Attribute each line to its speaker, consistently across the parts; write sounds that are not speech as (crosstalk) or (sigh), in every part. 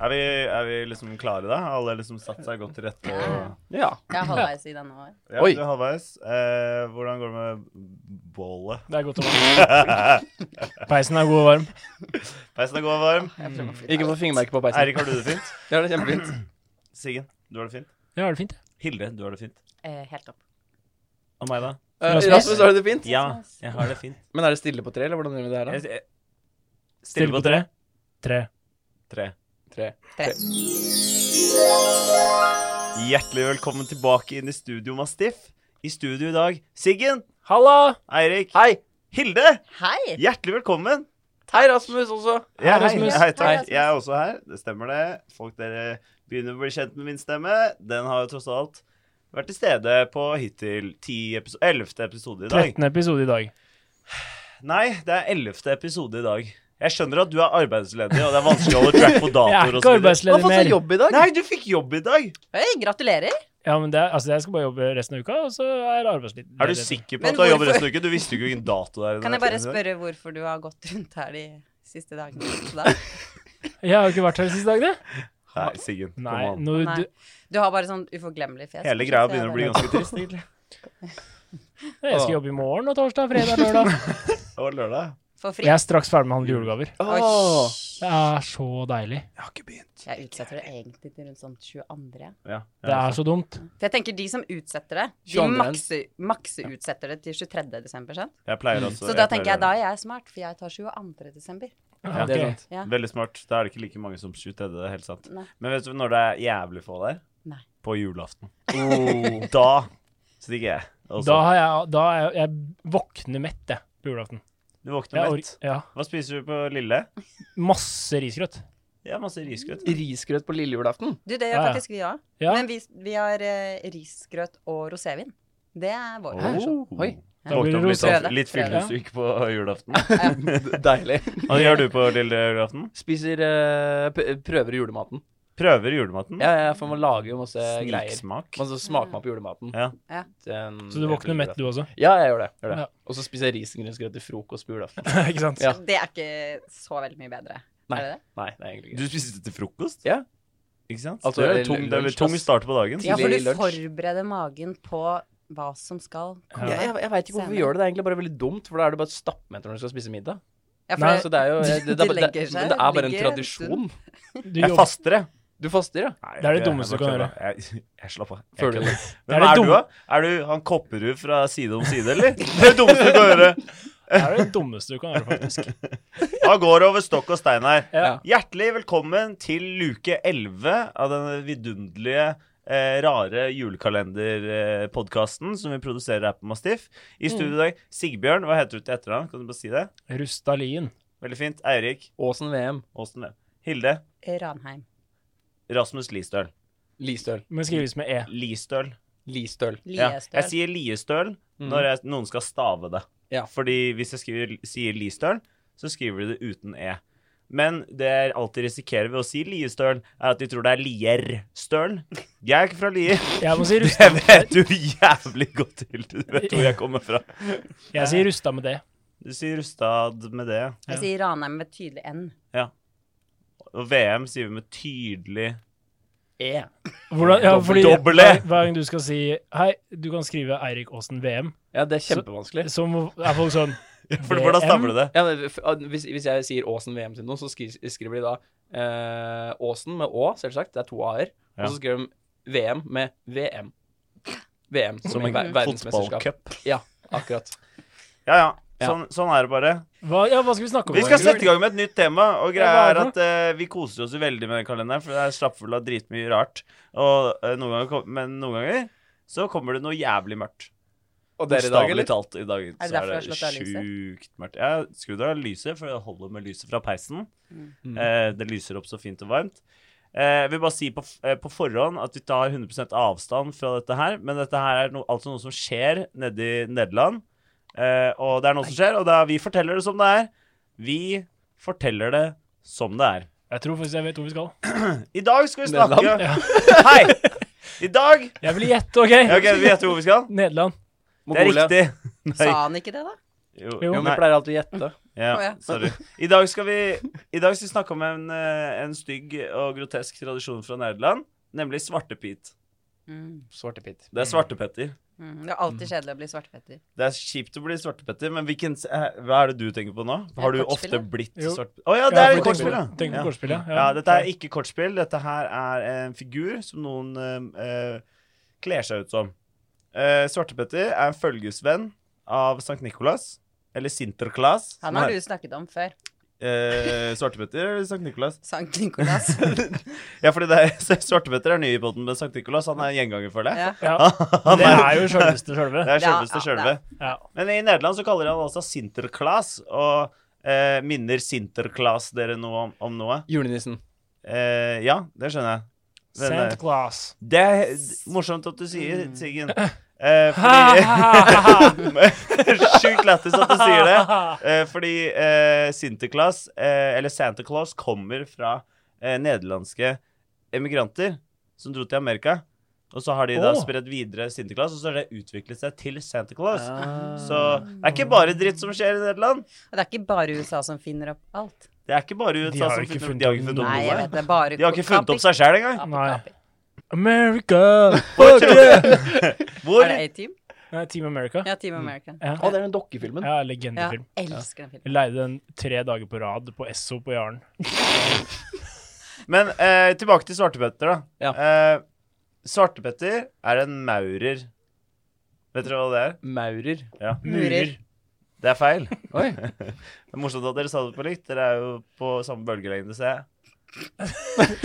Speaker 1: Er vi, er vi liksom klare, da? Alle liksom satt seg godt til rette? Og...
Speaker 2: Ja.
Speaker 3: Jeg er halvveis i denne år.
Speaker 1: Ja,
Speaker 2: Oi.
Speaker 1: du er halvveis. Eh, hvordan går det med bålet? (laughs)
Speaker 4: Det er godt å være Peisen er god og varm.
Speaker 1: Peisen er god og varm.
Speaker 3: Jeg prøver å flytte
Speaker 2: Ikke
Speaker 3: meg.
Speaker 2: få fingermerke på peisen.
Speaker 1: Eirik, har du det fint?
Speaker 2: Jeg har det kjempefint.
Speaker 4: (clears throat)
Speaker 1: Siggen, du har det fint?
Speaker 4: Ja, er det fint?
Speaker 1: Hilde, du har det fint?
Speaker 3: Eh, helt opp.
Speaker 1: Og meg, da?
Speaker 2: Eh,
Speaker 4: Rasmus.
Speaker 2: Rasmus, har du det fint?
Speaker 1: Ja, jeg har det fint.
Speaker 2: Men er det stille på tre, eller hvordan gjør vi det her, da?
Speaker 1: Jeg, jeg, stille på tre.
Speaker 4: Tre.
Speaker 1: Tre.
Speaker 2: Tre.
Speaker 3: Tre.
Speaker 1: Hjertelig velkommen tilbake inn i studio, Mastiff. I studio i dag, Siggen,
Speaker 4: Halla!
Speaker 1: Eirik,
Speaker 2: Hei!
Speaker 1: Hilde.
Speaker 3: Hei!
Speaker 1: Hjertelig velkommen.
Speaker 2: Hei, Rasmus også.
Speaker 1: Jeg er,
Speaker 4: Rasmus.
Speaker 1: Hei,
Speaker 3: Hei,
Speaker 1: takk.
Speaker 3: Rasmus.
Speaker 1: Jeg er også her. Det stemmer det. Folk dere begynner å bli kjent med min stemme. Den har jo tross alt vært til stede på hittil 10 episo- 11. episode i dag.
Speaker 4: 13. episode i dag.
Speaker 1: Nei, det er 11. episode i dag. Jeg skjønner at du er arbeidsledig, og det er vanskelig å holde track på
Speaker 4: (laughs) Jeg er
Speaker 1: datoer og
Speaker 4: ikke
Speaker 1: så videre.
Speaker 2: Du har
Speaker 4: arbeidsledig
Speaker 2: fått deg
Speaker 4: mer.
Speaker 2: jobb i dag.
Speaker 1: Nei, du fikk jobb i dag!
Speaker 3: Hei, gratulerer!
Speaker 4: Ja, men det er, altså, jeg skal bare jobbe resten av uka, og så er det arbeidsledig.
Speaker 1: Er du sikker på
Speaker 3: Men
Speaker 1: at du har jobb
Speaker 3: hvorfor-
Speaker 1: resten av uka? Du visste jo ikke hvilken dato det er.
Speaker 3: Kan jeg bare spørre hvorfor du har gått rundt her de siste
Speaker 1: (laughs)
Speaker 3: dagene? Da?
Speaker 4: Jeg har jo ikke vært her de siste dagene.
Speaker 1: Nei, Siggen. kom
Speaker 4: Nei,
Speaker 1: an.
Speaker 4: nå,
Speaker 3: Nei.
Speaker 4: du,
Speaker 3: Du har bare sånn uforglemmelig fjes.
Speaker 1: Hele greia begynner å bli
Speaker 3: sånn,
Speaker 1: ganske trist, egentlig.
Speaker 4: (laughs) jeg skal jobbe i morgen og torsdag, fredag,
Speaker 1: (laughs)
Speaker 4: lørdag.
Speaker 1: Det var lørdag.
Speaker 3: For fri.
Speaker 4: Jeg er straks ferdig med å handle julegaver.
Speaker 2: Åh,
Speaker 4: Det er så deilig.
Speaker 1: Jeg har ikke begynt.
Speaker 3: Jeg utsetter det egentlig til rundt sånn 22.
Speaker 1: Ja,
Speaker 3: ja.
Speaker 4: Det er så dumt.
Speaker 3: For jeg tenker de som utsetter det, de
Speaker 2: 22..
Speaker 3: makse- makseutsetter det til 23. desember, sant?
Speaker 1: jeg pleier også.
Speaker 3: Så da
Speaker 1: pleier
Speaker 3: tenker
Speaker 1: å
Speaker 3: jeg da
Speaker 1: gjøre
Speaker 3: er jeg smart, for jeg tar 22. desember.
Speaker 4: Ja,
Speaker 2: Det er
Speaker 4: ok.
Speaker 2: sant.
Speaker 3: Ja.
Speaker 1: det. Veldig smart. Da er det ikke like mange som 23. Det er helt sant.
Speaker 3: Nei.
Speaker 1: Men vet du når det er jævlig få der?
Speaker 3: Nei.
Speaker 1: På julaften.
Speaker 2: Oh.
Speaker 1: Da stikker jeg. Og så-
Speaker 4: Da har jeg, da er jeg, jeg våkner mett, jeg, på julaften.
Speaker 1: Du våkner
Speaker 4: Jeg,
Speaker 1: mett.
Speaker 4: or- ja.
Speaker 1: Hva spiser du på Lille?
Speaker 4: Masse risgrøt.
Speaker 1: Ja, masse risgrøt.
Speaker 2: Risgrøt på lille julaften.
Speaker 3: Du, det gjør
Speaker 4: Ja, ja.
Speaker 3: faktisk vi òg.
Speaker 4: Ja,
Speaker 3: Men vi, vi har eh, risgrøt og rosévin. Det er vår.
Speaker 2: Hæ?
Speaker 1: Oh.
Speaker 2: Oi.
Speaker 3: Da
Speaker 1: Våkne
Speaker 4: blir
Speaker 1: opp
Speaker 4: det
Speaker 1: litt,
Speaker 3: rosé.
Speaker 1: sånn- litt
Speaker 3: Fredag.
Speaker 1: fyllesyk på julaften.
Speaker 2: Deilig.
Speaker 1: Hva gjør du på lille julaften?
Speaker 2: Spiser eh, p- Prøver julematen.
Speaker 1: Prøver julematen?
Speaker 2: Ja, ja, for man lager jo masse greier.
Speaker 1: Sniksmak.
Speaker 2: Man så smaker man på julematen.
Speaker 1: Ja.
Speaker 3: Ja.
Speaker 2: Den-
Speaker 4: så du våkner mett, du også.
Speaker 2: Ja, jeg gjør det. Gjør det.
Speaker 4: Ja.
Speaker 2: Og så spiser jeg risengrynsgrøt til frokost på
Speaker 1: (laughs)
Speaker 2: julaften.
Speaker 4: ikke sant?
Speaker 2: Ja.
Speaker 3: Det er ikke så veldig mye bedre.
Speaker 2: Nei.
Speaker 3: Er det det?
Speaker 2: Nei, det er egentlig ikke
Speaker 1: Du spiste til frokost?
Speaker 2: Ja.
Speaker 1: Ikke sant?
Speaker 2: Altså,
Speaker 1: det er
Speaker 2: eller
Speaker 1: en tung, det er en
Speaker 2: lunsj,
Speaker 1: tung
Speaker 2: ass.
Speaker 1: start på dagen.
Speaker 3: Ja, for
Speaker 2: Tidlig
Speaker 3: du
Speaker 2: lunsj.
Speaker 3: forbereder magen på hva som skal komme.
Speaker 2: Jeg, jeg, jeg veit ikke hvorfor vi
Speaker 3: Senere.
Speaker 2: gjør det. Det er egentlig bare veldig dumt, for da er det bare stappmeter når du skal spise middag.
Speaker 3: Ja, for
Speaker 2: Nei,
Speaker 1: altså,
Speaker 3: det-
Speaker 2: så det er
Speaker 1: (laughs)
Speaker 2: jo det, det,
Speaker 3: de
Speaker 2: det, det,
Speaker 3: legger seg,
Speaker 2: men det er bare en
Speaker 3: ligger en
Speaker 2: tradisjon.
Speaker 4: Du
Speaker 1: Jeg
Speaker 4: jobber-
Speaker 1: faster, jeg.
Speaker 2: Du faster, ja.
Speaker 1: Nei,
Speaker 4: Det er det
Speaker 1: jeg-
Speaker 4: dummeste
Speaker 1: jeg
Speaker 4: du kan
Speaker 1: bare kødder. Jeg, jeg slapp av. Jeg
Speaker 2: Føler du
Speaker 1: kødder.
Speaker 2: det?
Speaker 4: Det
Speaker 1: Hvem
Speaker 4: er det
Speaker 1: er, du,
Speaker 4: dumme-
Speaker 1: da? Er du han Kopperud fra Side om side, eller? Det er det dummeste du kan gjøre.
Speaker 4: Det er det dummeste du kan gjøre,
Speaker 1: (laughs)
Speaker 4: faktisk.
Speaker 1: Da går det over stokk og stein her.
Speaker 2: Ja.
Speaker 1: Hjertelig velkommen til luke 11 av denne vidunderlige, eh, rare julekalenderpodkasten som vi produserer her på Mastiff. I studio i dag, Sigbjørn, hva heter du til etternavn? Kan du bare si det?
Speaker 4: Rustalin.
Speaker 1: Veldig fint. Eirik
Speaker 2: Åsen VM.
Speaker 1: Åsen. Hilde.
Speaker 3: Ranheim.
Speaker 1: Rasmus Listøl.
Speaker 2: Listøl.
Speaker 4: Men skrives med E.
Speaker 1: Listøl.
Speaker 2: Listøl.
Speaker 1: Ja.
Speaker 3: Liestøl.
Speaker 1: Jeg sier liestøl når jeg, noen skal stave det.
Speaker 2: Mm. Ja.
Speaker 1: Fordi hvis jeg skriver, sier liestøl, så skriver de det uten e. Men det jeg alltid risikerer ved å si liestøl, er at de tror det er lierstøl. Jeg er ikke fra
Speaker 2: (laughs)
Speaker 1: Lier.
Speaker 4: Jeg
Speaker 1: (laughs)
Speaker 4: må si rusta,
Speaker 1: Jeg vet jo jævlig godt til du vet hvor jeg kommer fra.
Speaker 4: jeg sier rusta med det.
Speaker 1: Du sier Rustad med det.
Speaker 3: Jeg sier Ranheim med tydelig N.
Speaker 1: Og VM sier vi med tydelig (laughs)
Speaker 2: E.
Speaker 4: Hvordan, ja, fordi
Speaker 1: Dobbel E.
Speaker 4: hver, hver gang du skal si Hei, du kan skrive Eirik Aasen VM,
Speaker 2: Ja, det er kjempevanskelig.
Speaker 4: så må- er folk sånn
Speaker 1: For hvordan stammer det?
Speaker 2: Ja, men, f- ah, hvis, hvis jeg sier Åsen VM til noen, så skri, skriver de da eh, Åsen med Å, selvsagt. Det er to A-er.
Speaker 1: Ja.
Speaker 2: Og så skriver de VM med VM. VM som,
Speaker 1: Som
Speaker 2: i
Speaker 1: en
Speaker 2: ver verdensmesterskap.
Speaker 1: fotballcup.
Speaker 2: Ja, akkurat.
Speaker 1: Ja, ja.
Speaker 2: Ja.
Speaker 1: Sånn, sånn er det bare.
Speaker 4: hva, Ja, hva skal vi snakke om?
Speaker 1: Vi skal sette i gang med et nytt tema, og greia
Speaker 4: Ja,
Speaker 1: er
Speaker 4: hva er
Speaker 1: at eh, vi koser oss jo veldig med den kalenderen, for det er stappfull av dritmye rart. Og, eh, noen ganger, kom- men noen ganger så kommer det noe jævlig mørkt.
Speaker 2: Og dere i dag,
Speaker 1: Bokstavelig
Speaker 2: eller?
Speaker 1: Talt, I dag
Speaker 3: det
Speaker 1: så er det
Speaker 3: derfor du har slått av lyset?
Speaker 1: sjukt mørkt. Jeg skrudde av lyset, for jeg holder med lyset fra peisen.
Speaker 2: Mm.
Speaker 1: Eh, det lyser opp så fint og varmt. Eh, jeg vil bare si på, f- eh, på forhånd at vi tar 100 avstand fra dette her, men dette her er no, altså noe som skjer nede i Nederland. Eh, og det er noe som skjer, og da vi forteller det som det er. Vi forteller det som det er.
Speaker 4: Jeg tror faktisk jeg vet hvor vi skal.
Speaker 1: I dag skal vi snakke
Speaker 2: Nederland?
Speaker 1: (laughs) Hei! I dag (laughs)
Speaker 4: Jeg vil gjette, OK?
Speaker 1: Ja, Ok, Vi vet hvor vi skal.
Speaker 4: Nederland.
Speaker 1: Det er
Speaker 2: Mongolia.
Speaker 1: riktig. Nei. (laughs)
Speaker 3: Sa han ikke det, da?
Speaker 2: Jo, vi
Speaker 1: nei,
Speaker 2: pleier alltid å gjette.
Speaker 1: ja,
Speaker 3: Å, ja.
Speaker 1: Sorry. I dag skal vi I dag skal vi snakke om en, eh, en stygg og grotesk tradisjon fra Nederland, nemlig svartepit.
Speaker 3: Mm,
Speaker 2: Svartepitt.
Speaker 1: Det er svartepetter.
Speaker 3: mm. Det er alltid kjedelig å bli svartpetter.
Speaker 1: Det er kjipt å bli svartepetter, men hvilken, eh, hva er det du tenker på nå? Har du ofte
Speaker 3: Kortspillet?
Speaker 1: blitt
Speaker 4: Jo.
Speaker 1: svartepetter? Å ja, det er
Speaker 4: Ja,
Speaker 1: kortspill, ja.
Speaker 4: Tenk på
Speaker 1: ja.
Speaker 4: kortspill, ja.
Speaker 1: Ja, dette er ikke kortspill. Dette her er en figur som noen eh, eh, kler seg ut som. Eh, Svartepetter er en følgesvenn av Sankt Nikolas, eller Sinterklas.
Speaker 3: Han har du snakket om før.
Speaker 1: Eh, Svartepetter eller Sankt Nikolas?
Speaker 3: Sankt
Speaker 1: (laughs)
Speaker 3: Nikolas.
Speaker 1: Ja, fordi det er, (laughs) Svartepetter er ny i potten, men Sankt Nikolas han er en gjenganger, føler jeg.
Speaker 3: ja.
Speaker 4: ja.
Speaker 1: (laughs) Han
Speaker 4: Det
Speaker 1: er,
Speaker 4: er jo sjølveste sjølve.
Speaker 1: det er
Speaker 3: Ja,
Speaker 1: sjølveste
Speaker 3: ja,
Speaker 1: sjølve.
Speaker 4: Ja.
Speaker 1: Men i Nederland så kaller de han altså Sinterklas, og eh, minner Sinterklas dere noe om, om noe?
Speaker 2: Julenissen.
Speaker 1: Eh, ja, det skjønner jeg. Den er-
Speaker 4: Santa Claus.
Speaker 1: Det er d- morsomt at du sier,
Speaker 3: Mm.
Speaker 1: Siggen. Eh,
Speaker 3: (laughs)
Speaker 4: Ha,
Speaker 1: fordi (laughs) Sjukt lættis at du sier (laughs) det. Eh, fordi eh, Sinterklaas, eh, eller Santa Claus, kommer fra eh, nederlandske emigranter som dro til Amerika. Og så har de da
Speaker 4: Åh.
Speaker 1: spredt videre Sinterklaas, og så har det utviklet seg til Santa Claus.
Speaker 3: Ah.
Speaker 2: Ah.
Speaker 1: Så det er ikke bare dritt som skjer i Nederland.
Speaker 3: Og det er ikke bare USA som finner opp alt.
Speaker 1: Det er ikke bare
Speaker 4: De
Speaker 1: USA
Speaker 4: har
Speaker 1: som
Speaker 4: ikke
Speaker 1: finner,
Speaker 4: funnet
Speaker 1: de har ikke
Speaker 4: opp
Speaker 1: funnet
Speaker 3: Nei, jeg
Speaker 1: opp noe.
Speaker 3: vet det. Bare
Speaker 1: De har ikke funnet opp seg sjæl engang.
Speaker 4: Nei.
Speaker 3: Nei.
Speaker 4: (laughs) America!
Speaker 1: Fuck you!
Speaker 3: Er
Speaker 1: Hvor Mm.
Speaker 3: det A-Team?
Speaker 4: Nei, Eh, Team America.
Speaker 3: Ja, Team America.
Speaker 4: Ja,
Speaker 2: Å, det er den dokkefilmen.
Speaker 4: ja
Speaker 3: Ja,
Speaker 4: legendefilm.
Speaker 3: elsker den
Speaker 4: Jeg
Speaker 3: filmen.
Speaker 4: leide den tre dager på rad på Esso på Jaren.
Speaker 1: Men eh, tilbake til Svartepetter, da.
Speaker 2: Ja.
Speaker 1: Eh, Svartepetter er en maurer. Vet dere hva det er?
Speaker 2: Maurer.
Speaker 3: Murer.
Speaker 1: Det er feil.
Speaker 2: (laughs) Oi.
Speaker 1: Det er morsomt at dere sa det på likt. Dere er jo på samme bølgelengde, ser jeg.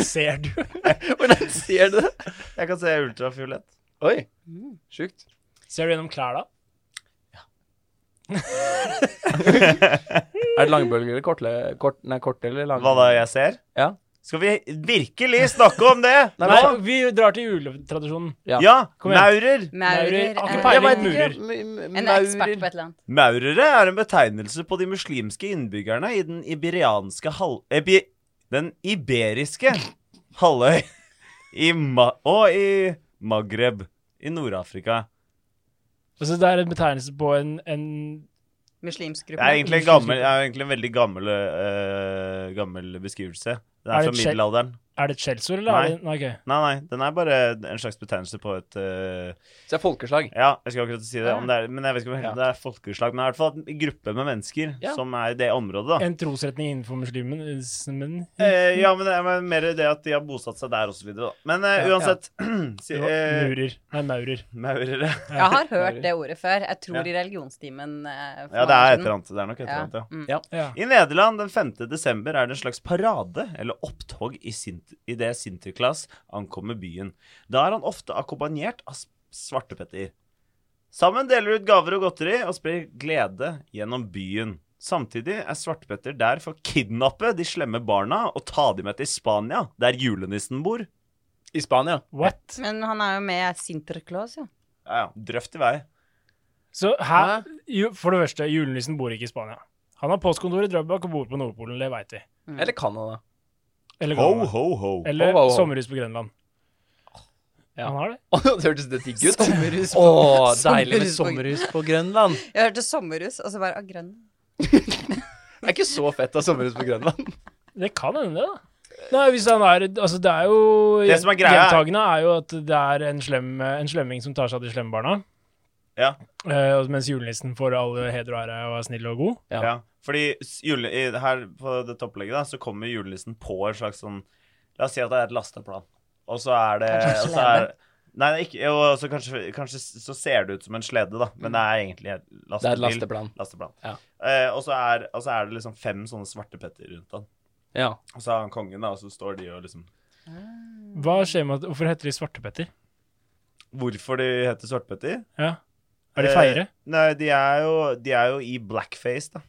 Speaker 4: Ser du?
Speaker 2: Hvordan ser du det?
Speaker 1: Jeg kan se ultrafiolett.
Speaker 2: Oi.
Speaker 3: Mm.
Speaker 2: Sjukt.
Speaker 4: Ser du gjennom klær, da?
Speaker 2: Er det langbølge eller kortle, kort, nei, kort eller lang?
Speaker 1: Hva da jeg ser?
Speaker 2: Ja.
Speaker 1: Skal vi virkelig snakke om det?
Speaker 2: Nei,
Speaker 4: Nei,
Speaker 1: Nå?
Speaker 4: vi drar til juletradisjonen.
Speaker 2: ja.
Speaker 1: Ja,
Speaker 4: Kom igjen.
Speaker 1: maurer.
Speaker 3: Maurer.
Speaker 4: Maurer. Har ikke
Speaker 3: eh, jeg
Speaker 4: peiling.
Speaker 3: vet ikke.
Speaker 4: Murer.
Speaker 3: En ekspert på et eller annet.
Speaker 1: Maurere er en betegnelse på de muslimske innbyggerne i den iberianske halv... Ebi, den iberiske halvøy i Ma og i Maghreb i Nord-Afrika.
Speaker 4: Altså, det er en betegnelse på en, en
Speaker 3: Muslimsk
Speaker 1: Det er
Speaker 3: gruppe.
Speaker 1: egentlig en, gammel, det er egentlig en veldig gammel, eh, gammel beskrivelse. Den
Speaker 4: Er
Speaker 1: er
Speaker 4: det
Speaker 1: fra
Speaker 4: et skjell?
Speaker 1: middelalderen.
Speaker 4: Er det et skjellsord, eller?
Speaker 1: Nei.
Speaker 4: Er det, nei, ok.
Speaker 1: Nei, nei, den er bare en slags betegnelse på et eh,
Speaker 2: Så det er folkeslag.
Speaker 1: Ja, jeg skal akkurat si det, om det er, men jeg vet ikke om det er-
Speaker 2: Ja.
Speaker 1: det er folkeslag. Men det er i hvert fall en gruppe med mennesker
Speaker 2: Ja.
Speaker 1: som er i det området, da.
Speaker 4: En trosretning innenfor muslimen ismen.
Speaker 1: Ah. Eh, ja, men det er men mer det at de har bosatt seg der, og så videre, da. Men eh,
Speaker 4: Ja.
Speaker 1: uansett (clears throat) si,
Speaker 4: Jo,
Speaker 1: eh,
Speaker 4: Murer. Nei, maurer.
Speaker 1: Maurere.
Speaker 3: Jeg
Speaker 1: (laughs)
Speaker 3: har hørt
Speaker 2: Maurer.
Speaker 3: det ordet før. Jeg tror
Speaker 1: Ja.
Speaker 3: i religionstimen. eh, for
Speaker 1: Ja, det
Speaker 3: mange år
Speaker 1: er et
Speaker 3: siden.
Speaker 1: eller annet. Det er nok et eller annet, ja.
Speaker 3: Mm.
Speaker 4: Ja.
Speaker 1: I Nederland den 5. desember er det en slags parade eller opptog i, Sint i det Sinterklaas ankommer byen. Da er han ofte akkompagnert av s- Svartepetter. Sammen deler de ut gaver og godteri og sprer glede gjennom byen. Samtidig er Svartepetter der for å kidnappe de slemme barna og ta dem med til Spania, der julenissen bor.
Speaker 2: I Spania.
Speaker 4: What?
Speaker 3: Men han er jo med Sinterklaas, jo.
Speaker 1: Ja, ja, drøft i vei.
Speaker 4: Så her, jo, for det første, julenissen bor ikke i Spania. Han har postkontor i Drøbak og bor på Nordpolen, det veit vi.
Speaker 3: Mm.
Speaker 2: Eller Canada. (laughs)
Speaker 4: Eller,
Speaker 1: Ho,
Speaker 4: Ghana.
Speaker 1: ho, ho.
Speaker 4: eller
Speaker 2: Ho, ho, ho.
Speaker 4: sommerhus på Grønland.
Speaker 2: Ja.
Speaker 4: Han har det.
Speaker 2: Å, det hørtes det digg ut.
Speaker 3: Sommerhus
Speaker 2: Å, deilig med
Speaker 3: Sommerhus på-
Speaker 2: sommerhus på Grønland.
Speaker 3: Jeg hørte sommerhus, og så bare ah, grønn.
Speaker 2: Det er ikke så fett av sommerhus på Grønland.
Speaker 4: Det kan hende, det, da. Nei, hvis han er, altså det er jo
Speaker 1: Det som er greia er-
Speaker 4: Gjentagende er jo at det er en, slem, en slemming som tar seg av de slemme barna.
Speaker 1: Ja.
Speaker 4: Eh, og mens julenissen får alle heder og ære og er snill og god.
Speaker 2: Ja.
Speaker 1: Ja, fordi s- jule, i, her på dette opplegget da, så kommer julenissen på en slags sånn La oss si at det er et lasteplan, og så er det
Speaker 3: Kanskje en
Speaker 1: og så er, Nei, det er ikke, jo, så kanskje, kanskje s- så ser det ut som en slede, da,
Speaker 3: Mm.
Speaker 1: men det er egentlig et lastebil.
Speaker 2: Det er et lasteplan.
Speaker 1: lasteplan.
Speaker 2: Ja.
Speaker 1: Eh, og, så er, og så er det liksom fem sånne svarte petter rundt han.
Speaker 2: Ja.
Speaker 1: Og så er han kongen, da, og så står de og liksom
Speaker 3: Ah.
Speaker 4: Hva skjer med at, Hvorfor heter de Svartepetter?
Speaker 1: Hvorfor de heter svartpetter?
Speaker 4: Ja. Er de
Speaker 1: Eh,
Speaker 4: feire?
Speaker 1: Nei, de er jo, de er jo i blackface, da.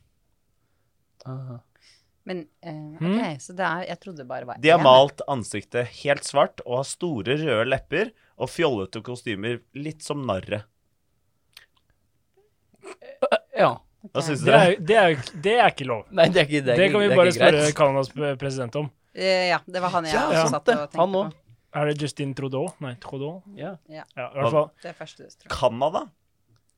Speaker 3: Men eh, OK,
Speaker 4: Mm.
Speaker 3: så det er Jeg trodde det bare var
Speaker 1: De har
Speaker 3: én.
Speaker 1: malt ansiktet helt svart og har store røde lepper og fjollete kostymer, litt som narre.
Speaker 2: ja.
Speaker 1: Hva syns
Speaker 4: Det er,
Speaker 1: dere?
Speaker 4: jo- det, er, jo ikke- det er ikke lov.
Speaker 2: Nei, det er ikke
Speaker 4: Det,
Speaker 2: er ikke-
Speaker 4: kan vi
Speaker 2: det er
Speaker 4: bare
Speaker 2: ikke
Speaker 4: spørre
Speaker 2: greit.
Speaker 4: Canadas pre- president om.
Speaker 3: Eh, ja, det var han jeg
Speaker 2: Ja,
Speaker 3: også
Speaker 2: sant
Speaker 3: satt
Speaker 2: det.
Speaker 3: og tenkte
Speaker 2: Han òg.
Speaker 3: på.
Speaker 4: Er det Justin Trudeau? Nei, Trudeau?
Speaker 2: Ja.
Speaker 4: Ja, i hvert fall.
Speaker 3: Det er første du tror.
Speaker 1: Canada?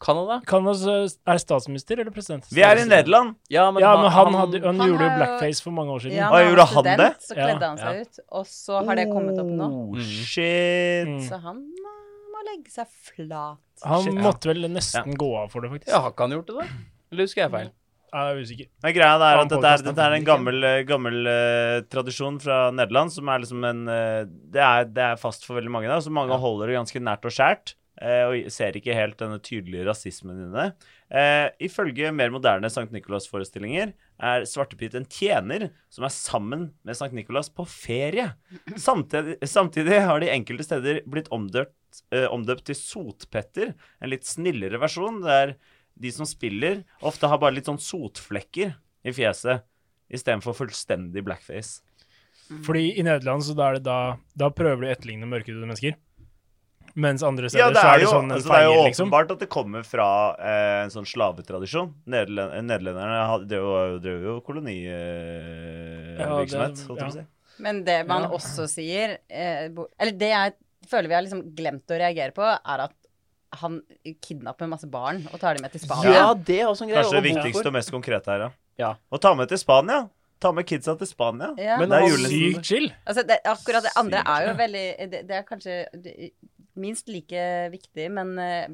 Speaker 2: Canada?
Speaker 4: Canada eh, er statsminister eller president?
Speaker 1: Vi er i Nederland!
Speaker 2: Ja, men,
Speaker 4: Ja,
Speaker 2: han-
Speaker 4: men han, hadde, han,
Speaker 3: han
Speaker 4: gjorde jo
Speaker 3: har jo-
Speaker 4: blackface for mange år siden.
Speaker 1: Å,
Speaker 3: når
Speaker 1: gjorde
Speaker 3: var
Speaker 1: han
Speaker 3: student, Så
Speaker 4: Ja,
Speaker 3: kledde han seg ut, og så har det kommet opp nå.
Speaker 1: Oh,
Speaker 2: Mm.
Speaker 1: Shit.
Speaker 4: Mm.
Speaker 3: Så han eh, må legge seg flat.
Speaker 4: Han
Speaker 1: Shit, ja.
Speaker 4: måtte vel nesten gå av for det, faktisk.
Speaker 2: ja, har ikke han gjort det, da? Eller husker jeg feil?
Speaker 4: Jeg er usikker.
Speaker 1: Men greia det er
Speaker 4: Han
Speaker 1: at dette er,
Speaker 4: podcasten
Speaker 1: dette er en
Speaker 4: funker
Speaker 1: gammel, eh, gammel eh, tradisjon fra Nederland, som er liksom en eh, det, er, det er fast for veldig mange, da, så mange
Speaker 2: Ja.
Speaker 1: holder det ganske nært og skjært. eh, og ser ikke helt denne tydelige rasismen inne. Eh, ifølge mer moderne Sankt Nikolas-forestillinger er Svartepytt en tjener som er sammen med Sankt Nikolas på ferie. Samtidig, samtidig har de enkelte steder blitt omdøpt, eh, omdøpt til Sotpetter, en litt snillere versjon, der de som spiller, ofte har bare litt sånn sotflekker i fjeset istedenfor fullstendig blackface.
Speaker 4: Fordi i Nederland så da er det da Da prøver du å etterligne mørkhudede mennesker. Mens andre steder
Speaker 1: Ja, det
Speaker 4: så
Speaker 1: er
Speaker 4: er det
Speaker 1: jo,
Speaker 4: sånn en
Speaker 1: altså, det er jo
Speaker 4: feier, liksom.
Speaker 1: åpenbart at det kommer fra eh, en sånn slavetradisjon. Nederlen- eh, Nederlenderne hadde- drev jo- drev jo
Speaker 4: Ja, det-
Speaker 1: kolonivirksomhet, holdt jeg på å si.
Speaker 3: Men det man
Speaker 4: Ja.
Speaker 3: også sier eh, bo- Eller det jeg føler vi har liksom glemt å reagere på, er at han kidnapper masse barn og tar dem med til Spania.
Speaker 2: Ja, det er også en greie.
Speaker 1: Kanskje det
Speaker 2: og hvorfor?
Speaker 1: viktigste og mest konkrete her, ja.
Speaker 2: Ja.
Speaker 1: Å ta med til Spania. Ta med kidsa til Spania.
Speaker 3: Ja.
Speaker 2: Men
Speaker 1: Det er
Speaker 2: han-
Speaker 1: julenissen.
Speaker 4: Sykt chill.
Speaker 3: Altså, det, akkurat det andre
Speaker 1: Sykt,
Speaker 3: er jo veldig Det, det er kanskje det- minst like viktig, men eh,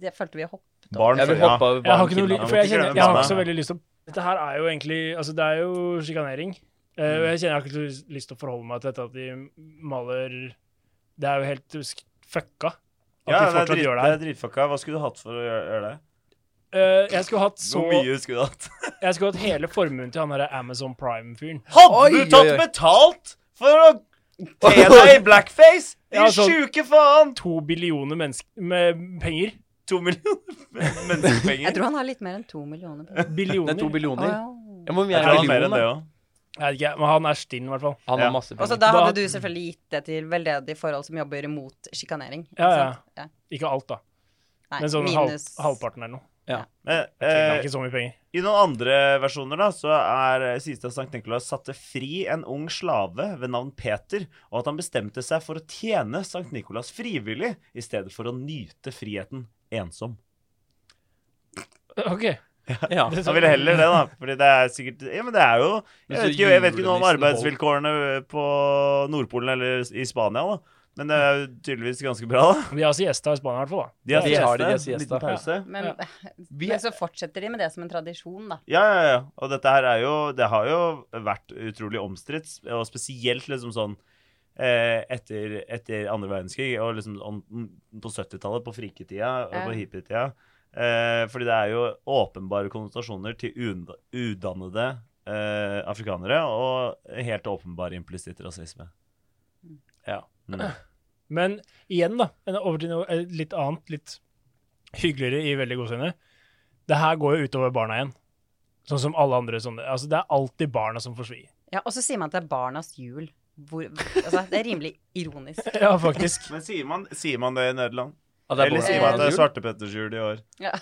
Speaker 3: det følte vi hopp.
Speaker 1: Barn
Speaker 2: Jeg vil hoppe over
Speaker 4: Jeg har ikke noe
Speaker 2: barn-
Speaker 4: li-
Speaker 1: kidnapping.
Speaker 4: for jeg,
Speaker 1: Ikke
Speaker 4: kjenner,
Speaker 1: glemme
Speaker 4: jeg har
Speaker 1: barna.
Speaker 4: ikke så veldig lyst til å Dette her er jo egentlig Altså, det er jo sjikanering. Eh, og jeg kjenner jeg har ikke så lyst- lyst til å forholde meg til dette at de maler Det er jo helt sk- fucka at
Speaker 1: Ja, det er,
Speaker 4: de fortsatt
Speaker 1: drit,
Speaker 4: gjør det
Speaker 1: det
Speaker 4: her.
Speaker 1: er dritfucka. Hva skulle du hatt for å gjøre, gjøre det?
Speaker 4: Eh, jeg skulle hatt så
Speaker 1: Hvor mye skulle du hatt?
Speaker 4: Jeg skulle hatt hele formuen til han derre Amazon Prime-fyren.
Speaker 1: Hadde
Speaker 2: Oi,
Speaker 1: du tatt
Speaker 2: oi, oi.
Speaker 1: betalt for å te
Speaker 2: (laughs)
Speaker 1: deg i blackface? Din
Speaker 4: Ja, sånn.
Speaker 1: sjuke faen!
Speaker 4: To billioner mennesker
Speaker 2: (laughs)
Speaker 4: med penger.
Speaker 1: To millioner (laughs) men- menneskepenger.
Speaker 3: Jeg tror han har litt mer enn to millioner. på-
Speaker 4: Billioner.
Speaker 2: Det er to
Speaker 3: Å,
Speaker 2: billioner.
Speaker 3: ja.
Speaker 2: Ja, men vi
Speaker 1: Jeg
Speaker 2: er
Speaker 1: tror han har
Speaker 2: millioner,
Speaker 1: mer enn det
Speaker 2: da.
Speaker 1: òg.
Speaker 4: Jeg vet ikke, men han er stinn, i hvert fall.
Speaker 2: Han
Speaker 1: Ja.
Speaker 2: har masse
Speaker 3: Og så
Speaker 2: penger.
Speaker 3: da
Speaker 4: Da-
Speaker 3: hadde du selvfølgelig gitt det til veldedige forhold som jobber mot sjikanering. ikke
Speaker 4: Ja, ja.
Speaker 3: sant? ja.
Speaker 4: Ikke alt, da.
Speaker 3: Nei,
Speaker 4: Men sånn halv,
Speaker 3: minus
Speaker 4: halvparten eller noe.
Speaker 1: Men
Speaker 4: Jeg har
Speaker 1: eh,
Speaker 4: ikke så mye penger.
Speaker 1: i noen andre versjoner da, så er eh, sies det at Sankt Nikolaus satte fri en ung slave ved navn Peter, og at han bestemte seg for å tjene Sankt Nikolaus frivillig i stedet for å nyte friheten ensom.
Speaker 2: Eh.
Speaker 4: OK.
Speaker 2: Ja.
Speaker 1: (laughs) Han ville heller det, da. Fordi det er sikkert Ja, men det er jo Jeg
Speaker 2: Men så
Speaker 1: vet ikke, jeg vet ikke noe om
Speaker 2: julenissen
Speaker 1: arbeidsvilkårene på Nordpolen eller i Spania, da. Men det er jo tydeligvis ganske bra, da.
Speaker 4: Vi har siesta i Spania, i hvert fall. da.
Speaker 1: De har
Speaker 2: De har det, de har
Speaker 1: siesta.
Speaker 2: siesta.
Speaker 1: Liten pause.
Speaker 3: Men,
Speaker 4: Ja.
Speaker 2: Vi
Speaker 3: men
Speaker 2: er,
Speaker 3: så fortsetter de med det som en tradisjon, da.
Speaker 1: Ja, ja, ja. Og dette her er jo Det har jo vært utrolig omstridt, og spesielt liksom sånn eh, etter, etter andre verdenskrig, og liksom om, på 70-tallet, på friketida og
Speaker 3: Ja.
Speaker 1: på hippietida. Eh, fordi det er jo åpenbare konnotasjoner til un- udannede eh, afrikanere, og helt åpenbar implisitt rasisme. Ja. Mm.
Speaker 4: Men igjen, da. en- Over til noe eh, litt annet, litt hyggeligere i veldig gåseøyne. Det her går jo utover barna igjen. Sånn som alle andre sånne. Altså, det er alltid barna som får svi. (laughs)
Speaker 3: Ja, og så sier man at det er barnas jul. Hvor, altså, det er rimelig
Speaker 1: (laughs)
Speaker 3: ironisk.
Speaker 4: Ja, faktisk.
Speaker 1: Men sier man, sier man det i Nederland?
Speaker 2: ja, det er
Speaker 1: Eller
Speaker 2: barn-
Speaker 1: sier man at det er
Speaker 2: jul. (laughs)
Speaker 1: svartepettersjul i år?
Speaker 3: (laughs)
Speaker 4: Ja.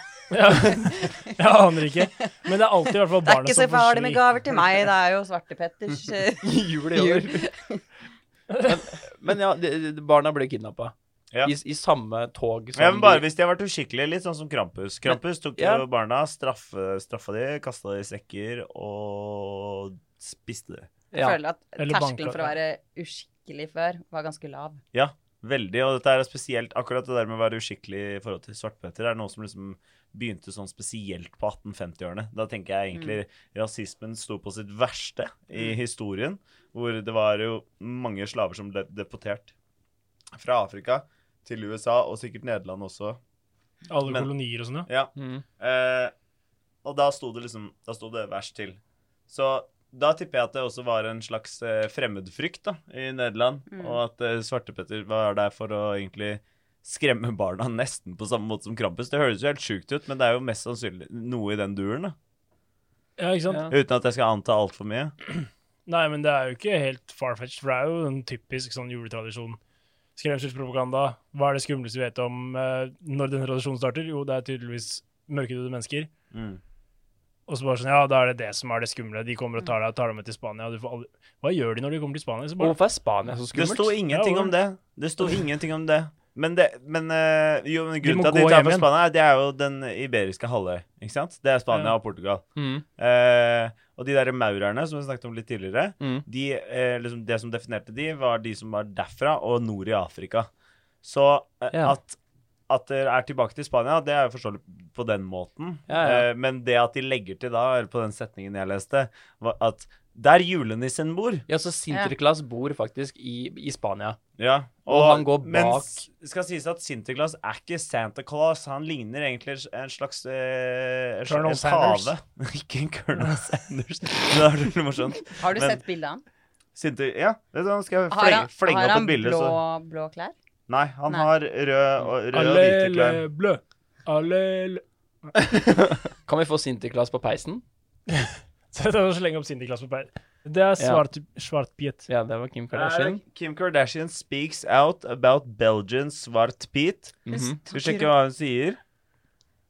Speaker 4: Jeg aner ikke. Men det er alltid i hvert fall
Speaker 3: Det er
Speaker 4: barna
Speaker 3: ikke
Speaker 4: som
Speaker 3: så
Speaker 4: får
Speaker 3: farlig med
Speaker 4: svi.
Speaker 3: gaver til meg, det er jo
Speaker 1: (laughs)
Speaker 3: Svartepetters eh,
Speaker 2: Jul i år. Men, men ja, de, de, barna ble kidnappa.
Speaker 1: Ja.
Speaker 2: I, I samme tog som
Speaker 1: Ja, men bare
Speaker 2: de-
Speaker 1: hvis de har vært uskikkelige, litt sånn som Krampus. Krampus tok
Speaker 2: Ja.
Speaker 1: jo barna, straffe, straffa de, kasta de i sekker og spiste de.
Speaker 2: ja.
Speaker 3: føler at
Speaker 4: Eller
Speaker 3: terskelen
Speaker 4: banka,
Speaker 3: for å være uskikkelig før var ganske lav.
Speaker 1: Ja, veldig. Og dette er spesielt akkurat det der med å være uskikkelig i forhold til svartpetter, er noe som liksom begynte sånn spesielt på 1850-årene. Da tenker jeg egentlig rasismen sto på sitt verste i historien, hvor det var jo mange slaver som ble deportert fra Afrika til USA, og sikkert Nederland også.
Speaker 4: Alle
Speaker 1: Men-
Speaker 4: kolonier og sånn, ja.
Speaker 1: Ja.
Speaker 2: Mm.
Speaker 1: Eh, og da sto det liksom Da sto det verst til. Så da tipper jeg at det også var en slags eh, fremmedfrykt da, i Nederland.
Speaker 3: Mm.
Speaker 1: Og at eh, Svartepetter var der for å egentlig skremme barna nesten på samme måte som Krampus. Det høres jo helt sjukt ut, men det er jo mest sannsynlig noe i den duren. da.
Speaker 4: ja ikke sant?
Speaker 2: Ja.
Speaker 1: Uten at jeg skal anta altfor mye.
Speaker 4: Nei, men det er jo ikke helt farfetched, for det er jo en typisk sånn juletradisjon. Skremselspropaganda. Hva er det skumleste vi vet om eh, når denne tradisjonen starter? Jo, det er tydeligvis mørkedøde mennesker.
Speaker 1: Mm.
Speaker 4: Og så bare sånn, ja, da er det det som er det skumle. De kommer og tar deg, tar deg med til Spania. og Du får aldri... Hva gjør de når de kommer til Spania? Så
Speaker 2: Og
Speaker 4: bare...
Speaker 2: Hvorfor er Spania så
Speaker 1: Det
Speaker 2: skummelt?
Speaker 1: sto ingenting
Speaker 4: Ja,
Speaker 1: om det. Det sto ingenting om det. Men, det, men, eh, jo, men grunnen
Speaker 4: må
Speaker 1: til at de
Speaker 4: gå
Speaker 1: tar
Speaker 4: hjem
Speaker 1: fra
Speaker 4: igjen.
Speaker 1: Spania, er- det er jo den iberiske halvøy. Ikke sant? Det er Spania
Speaker 4: Ja.
Speaker 1: og Portugal.
Speaker 2: Mm.
Speaker 1: Eh, og de der maurerne som vi snakket om litt tidligere,
Speaker 2: Mm.
Speaker 1: de, eh, liksom det som definerte de, var de som var derfra og nord i Afrika. Så eh,
Speaker 2: Ja.
Speaker 1: at, at dere er tilbake til Spania, det er jo forståelig på den måten.
Speaker 2: Ja, ja.
Speaker 1: Eh, men det at de legger til da, eller på den setningen jeg leste, var at der julenissen bor
Speaker 2: Ja, så Sinterklas bor faktisk i, i Spania.
Speaker 1: ja,
Speaker 2: Og han går bak-
Speaker 1: det skal sies at Sinterklaas er ikke Santa Claus. Han ligner egentlig en slags eh, en slags-
Speaker 4: Colonel
Speaker 1: en
Speaker 4: Sanders.
Speaker 1: pave. (laughs) ikke en Colonel Sanders. Det er veldig morsomt.
Speaker 3: Har du
Speaker 1: Men-
Speaker 3: sett bildet av han?
Speaker 1: Sinter, ja, det er sånn, skal jeg
Speaker 3: Har
Speaker 1: flenge,
Speaker 3: han,
Speaker 1: flenge
Speaker 3: har
Speaker 1: opp
Speaker 3: han
Speaker 1: et bilde.
Speaker 3: blå,
Speaker 1: Så.
Speaker 3: blå klær?
Speaker 1: Nei, han
Speaker 3: Nei.
Speaker 1: har rød og, rød og hvite klær.
Speaker 4: Allele blø. Allele
Speaker 2: Kan vi få Sinterklas på peisen?
Speaker 4: (laughs) Så det er å slenge opp Sinterklaas på peil. Det er svart, svartbit.
Speaker 2: Ja, det var Kim
Speaker 1: Er
Speaker 2: Kardashian.
Speaker 1: det Kim Kardashian speaks out about Belgian svart pit.
Speaker 2: Mhm.
Speaker 1: Skal vi sjekke hva hun sier?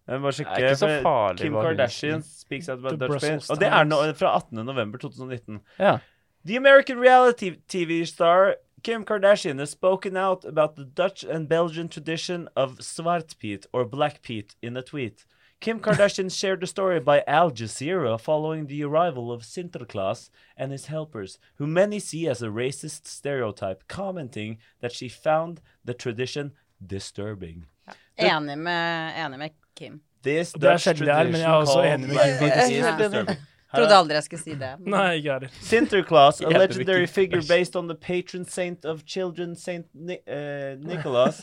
Speaker 1: Jeg må bare sjekke,
Speaker 2: Det er ikke så
Speaker 1: for
Speaker 2: farlig
Speaker 1: Kim
Speaker 2: hva hun
Speaker 1: Kardashian speaks out about
Speaker 4: The
Speaker 1: Dutch pit.
Speaker 4: Brussels
Speaker 1: Og det er nå
Speaker 4: Times.
Speaker 1: fra 18. november 2019.
Speaker 2: Ja.
Speaker 1: The American reality TV star Kim Kardashian has spoken out about the Dutch and Belgian tradition of Svart Pete or Black Pete in a tweet. Kim Kardashian shared the story by Al Jazeera following the arrival of Sinterklaas and his helpers, who many see as a racist stereotype, commenting that she found the tradition disturbing.
Speaker 3: Enig med, enig med Kim.
Speaker 1: This
Speaker 4: Det er
Speaker 1: Dutch
Speaker 4: sjelden det er, men jeg er også
Speaker 1: called
Speaker 4: enig med
Speaker 1: Black
Speaker 4: Kim
Speaker 1: Pete
Speaker 3: Kardashian.
Speaker 1: is
Speaker 3: Jeg er helt enig.
Speaker 1: disturbing. Her er-
Speaker 3: Trodde aldri jeg skulle si det. men-
Speaker 4: Nei, ikke heller.
Speaker 1: (laughs) Sinterklaas, a
Speaker 2: Hjelper
Speaker 1: legendary
Speaker 2: ikke.
Speaker 1: figure based on the patron saint of children, Saint Ni uh, (laughs) Nicholas.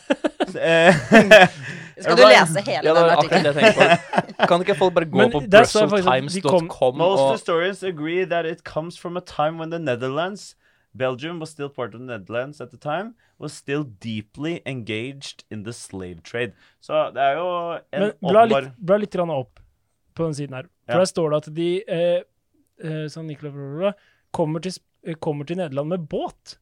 Speaker 1: Eh,
Speaker 3: Skal du
Speaker 1: arrived-
Speaker 3: lese hele
Speaker 2: Ja, det
Speaker 3: den
Speaker 2: var akkurat
Speaker 3: artikkelen?
Speaker 2: det jeg tenkte på. Kan ikke folk (laughs) bare gå
Speaker 4: Men
Speaker 2: på
Speaker 4: der står jeg faktisk at de kom-
Speaker 2: brusseltimes.com
Speaker 1: Most
Speaker 2: og
Speaker 1: historians agree that it comes from a time when the Netherlands, Belgium was still part of the Netherlands at the time, was still deeply engaged in the slave trade. Så det er jo en
Speaker 4: Men bla litt,
Speaker 1: åpenbar
Speaker 4: bla litt grann opp på den siden her. For
Speaker 1: Ja.
Speaker 4: Der står det at de eh, eh, San Nicolas bla, bla, bla, kommer, til, Sp- eh, kommer til Nederland med båt.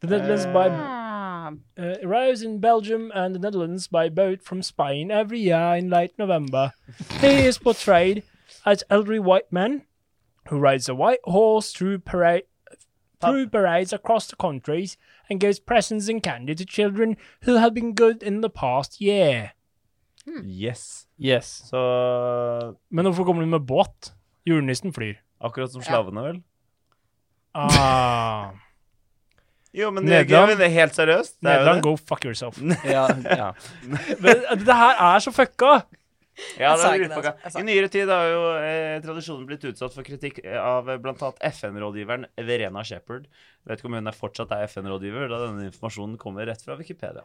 Speaker 4: The Netherlands by
Speaker 1: Eh.
Speaker 3: Ah,
Speaker 4: uh, arrives in Belgium and the Netherlands by boat from Spain every year in late November. he is portrayed as elderly white man who rides a white horse through parade. Through parades across the countries and gives presents and candy to children who have been good in the past year.
Speaker 3: Hmm.
Speaker 1: Yes.
Speaker 2: Yes.
Speaker 1: Så
Speaker 4: Men hvorfor kommer de med båt? Julenissen flyr.
Speaker 1: akkurat som slavene, vel? (laughs)
Speaker 4: Ah,
Speaker 1: Jo, men
Speaker 4: Nederland-
Speaker 1: det er helt seriøst. Det er jo
Speaker 4: Nederland,
Speaker 1: det.
Speaker 4: go fuck yourself.
Speaker 2: (laughs)
Speaker 1: (laughs)
Speaker 2: Ja, ja.
Speaker 4: Men eh, det her er så fucka!
Speaker 1: Ja,
Speaker 3: Jeg
Speaker 1: det
Speaker 3: sa
Speaker 1: er
Speaker 3: ikke det,
Speaker 1: grunnpakka.
Speaker 3: altså. Jeg sa-
Speaker 1: I nyere tid har jo eh, tradisjonen blitt utsatt for kritikk eh, av eh, blant annet FN-rådgiveren Verena Shepherd. Jeg vet ikke om hun er fortsatt er FN-rådgiver, da denne informasjonen kommer rett fra Wikipedia.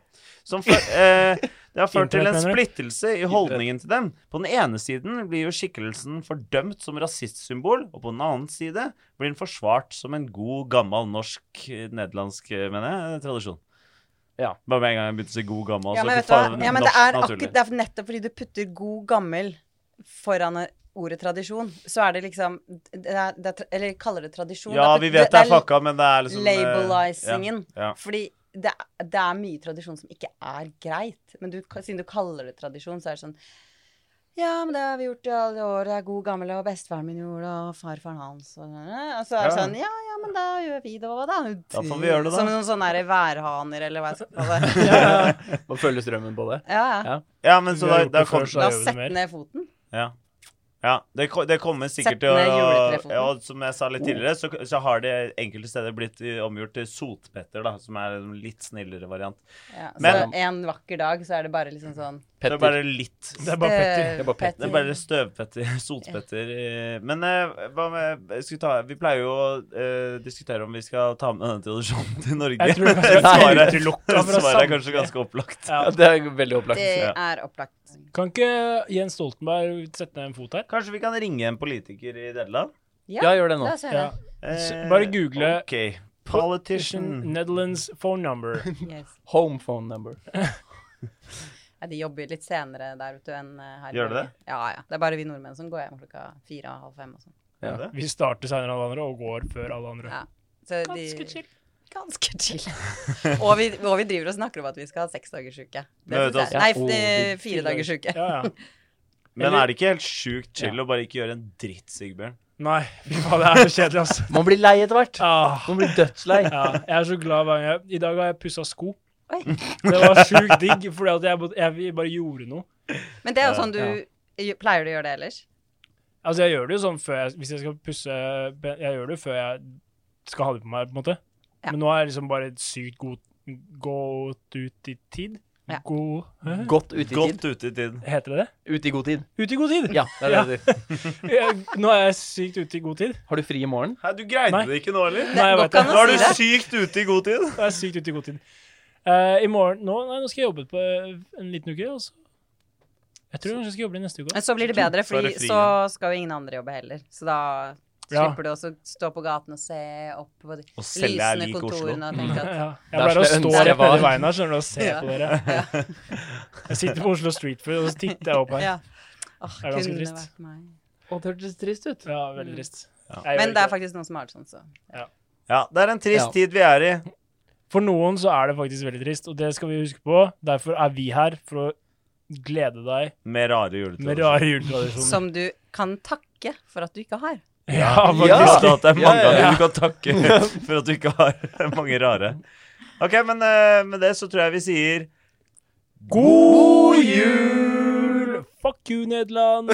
Speaker 1: Som
Speaker 3: (laughs)
Speaker 1: for, eh, det har ført til en
Speaker 4: Internett, mener du?
Speaker 1: splittelse i holdningen til dem. På den ene siden blir jo skikkelsen fordømt som rasistsymbol, og på den annen side blir den forsvart som en god, gammel norsk, eh, nederlandsk, eh, mener jeg, eh, tradisjon.
Speaker 2: Ja.
Speaker 1: Bare med en gang jeg begynte å si god, gammel,
Speaker 3: Ja,
Speaker 1: så
Speaker 3: men
Speaker 1: fy
Speaker 3: vet du hva?
Speaker 1: faen,
Speaker 3: Ja, men det
Speaker 1: Altså, norsk,
Speaker 3: er,
Speaker 1: naturlig.
Speaker 3: akkurat, det er nettopp fordi du putter god gammel foran ordet tradisjon, så er det liksom det er, det er, tra- Eller kaller det tradisjon.
Speaker 1: Ja,
Speaker 3: at
Speaker 1: vi vet det er fucka, men det er liksom eh,
Speaker 3: Labelisingen.
Speaker 1: Ja,
Speaker 3: Fordi det, er- det er mye tradisjon som ikke er greit. Men du, ka- siden du kaller det tradisjon, så er det sånn Ja, men det har vi gjort i alle år. Det er god gammel, og bestefaren min gjorde det, og farfaren hans og, og så er det
Speaker 1: Ja.
Speaker 3: sånn Ja, ja, men da gjør vi det òg, da.
Speaker 1: Da får vi gjøre det, da.
Speaker 3: Som noen sånne der værhaner, eller hva jeg skal kalle det.
Speaker 1: (laughs)
Speaker 2: ja, ja. (laughs) Må følge strømmen på det.
Speaker 3: Ja, ja.
Speaker 2: Ja.
Speaker 1: ja. ja men så
Speaker 4: Vi har
Speaker 1: da,
Speaker 4: gjort
Speaker 1: da
Speaker 4: det
Speaker 1: kom,
Speaker 4: før, så-
Speaker 3: La oss
Speaker 4: gjør vi det
Speaker 3: sette
Speaker 4: mer.
Speaker 3: ned foten.
Speaker 1: ja. ja, det, ko- det kommer sikkert til å
Speaker 3: Sett ned juletrefoten.
Speaker 1: ja, og Som jeg sa litt tidligere, så, så har det enkelte steder blitt eh, omgjort til sotpetter, da, som er en litt snillere variant.
Speaker 3: Ja, så
Speaker 1: Men-
Speaker 3: en vakker dag så er det bare liksom sånn
Speaker 1: Det er
Speaker 2: Petter.
Speaker 1: bare litt
Speaker 4: Det er bare Petter.
Speaker 2: Det er bare Petter.
Speaker 1: Det er bare støvpetter, (laughs) sotpetter eh, Men eh, hva med jeg skulle ta, Vi pleier jo å eh, diskutere om vi skal ta med denne tradisjonen til Norge.
Speaker 4: Jeg
Speaker 1: (laughs)
Speaker 4: tror vi skal
Speaker 1: Svaret-
Speaker 4: utelukke fra
Speaker 1: Svaret er kanskje
Speaker 4: samtlige.
Speaker 1: ganske opplagt.
Speaker 2: Ja, det er veldig opplagt.
Speaker 3: Det
Speaker 1: Ja.
Speaker 3: er opplagt.
Speaker 4: Kan ikke Jens Stoltenberg sette ned en fot her?
Speaker 1: Kanskje vi kan ringe en politiker i Nederland?
Speaker 2: Ja, gjør det nå.
Speaker 3: Da ser
Speaker 4: Ja.
Speaker 3: jeg
Speaker 4: S-
Speaker 1: Eh,
Speaker 4: bare google-
Speaker 1: Ok.
Speaker 4: Politician
Speaker 1: Politician
Speaker 4: Netherlands phone number.
Speaker 3: det. Yes.
Speaker 2: Home phone number.
Speaker 3: Ja, de jobber litt senere der ute enn eh, her. i
Speaker 1: Gjør de
Speaker 3: Norge.
Speaker 1: det?
Speaker 3: Ja, ja. Det er bare vi nordmenn som går hjem klokka fire og halv fem og sånn.
Speaker 2: Ja.
Speaker 4: Vi starter senere enn alle andre og går før alle andre.
Speaker 3: Ja. Så de,
Speaker 4: Ganske chill.
Speaker 3: Ganske chill. (laughs) og, vi, og vi driver og snakker om at vi skal ha seksdagersuke. Det
Speaker 1: Men vet du hva-
Speaker 3: synes jeg- Nei,
Speaker 2: Ja.
Speaker 3: f- eh,
Speaker 4: Oh,
Speaker 3: firedagersuke.
Speaker 4: Ja, ja.
Speaker 1: Men
Speaker 4: Eller-
Speaker 1: er det ikke helt sjukt chill å bare ikke gjøre en dritt, Sigbjørn?
Speaker 4: Nei, fy faen, det er så kjedelig, altså.
Speaker 2: Man blir lei etter hvert.
Speaker 4: Ah,
Speaker 2: (laughs) Man blir dødslei.
Speaker 4: ja, jeg er så glad hver gang jeg I dag har jeg pussa sko.
Speaker 3: Oi.
Speaker 4: Det var sjukt digg, fordi at jeg, bare- jeg bare gjorde noe.
Speaker 3: Men det er
Speaker 1: Ja,
Speaker 3: jo sånn du Pleier du å gjøre det ellers?
Speaker 4: Altså, jeg gjør det jo sånn før jeg, hvis jeg skal pusse ben- Jeg gjør det jo før jeg skal ha det på meg, på en måte.
Speaker 3: Ja.
Speaker 4: Men nå er jeg liksom bare sykt god, gått ut i tid.
Speaker 3: Ja.
Speaker 4: God Hæ?
Speaker 2: Godt ute i tid.
Speaker 1: Godt ute i tiden.
Speaker 4: Heter det det?
Speaker 2: Ute i god tid.
Speaker 4: Ut i god tid! (laughs)
Speaker 2: Ja, det er det
Speaker 4: Ja.
Speaker 2: det heter.
Speaker 4: Jeg, nå er jeg sykt ute i god tid.
Speaker 2: Har du fri i morgen?
Speaker 1: Hei, du greide
Speaker 4: Nei.
Speaker 1: det ikke nå, eller?
Speaker 4: Nei,
Speaker 3: går
Speaker 4: jeg vet
Speaker 3: ikke an
Speaker 4: det.
Speaker 1: Nå
Speaker 3: å
Speaker 1: er
Speaker 3: si
Speaker 1: du
Speaker 3: det.
Speaker 1: sykt ute i god tid.
Speaker 4: Jeg er sykt ute i god tid. Eh, I morgen nå, nei, nå skal jeg jobbe på eh, en liten uke, og så Jeg tror kanskje jeg skal jobbe i neste uke.
Speaker 3: Men så blir det
Speaker 1: Så er
Speaker 3: bedre, for
Speaker 1: det fri
Speaker 3: så skal jo ingen andre jobbe heller. Så da
Speaker 4: Ja.
Speaker 3: slipper du også stå på gaten og se opp på de
Speaker 1: Og selge er
Speaker 3: lysende
Speaker 1: lik Oslo.
Speaker 4: Mm.
Speaker 3: kontorene og tenke
Speaker 4: (laughs)
Speaker 3: at
Speaker 4: Ja.
Speaker 2: Det
Speaker 4: Jeg
Speaker 2: er
Speaker 4: pleier å
Speaker 2: som jeg ønsker
Speaker 4: stå
Speaker 2: jeg
Speaker 4: rett nedi
Speaker 2: var.
Speaker 4: veien her skjønner du, og se
Speaker 3: Ja.
Speaker 4: på dere. Jeg sitter på Oslo Street Food, og så titter jeg opp her.
Speaker 3: ja. Åh,
Speaker 4: Det er ganske
Speaker 3: kunne
Speaker 4: trist.
Speaker 3: vært meg.
Speaker 2: Å, det hørtes trist ut.
Speaker 4: Ja, veldig trist.
Speaker 1: Ja.
Speaker 4: Jeg
Speaker 3: Mm.
Speaker 4: gjør
Speaker 3: Men
Speaker 4: ikke
Speaker 3: det er faktisk noen som har det sånn, så
Speaker 1: Ja, det er en trist
Speaker 2: Ja.
Speaker 1: tid vi er i.
Speaker 4: For noen så er det faktisk veldig trist, og det skal vi huske på. Derfor er vi her for å glede deg
Speaker 1: Med rare
Speaker 4: med
Speaker 1: juletradisjoner.
Speaker 4: rare juletradisjoner.
Speaker 3: Som du kan takke for at du ikke har.
Speaker 4: (laughs) Ja,
Speaker 1: Ja,
Speaker 4: faktisk.
Speaker 1: at det er mange
Speaker 2: Ja,
Speaker 1: av
Speaker 2: ja,
Speaker 1: dem
Speaker 2: ja.
Speaker 1: du kan
Speaker 2: (laughs)
Speaker 1: takke for at du ikke har (laughs) mange rare. Ok, men eh, med det så tror jeg vi sier
Speaker 4: God jul! Fuck you, Nederland!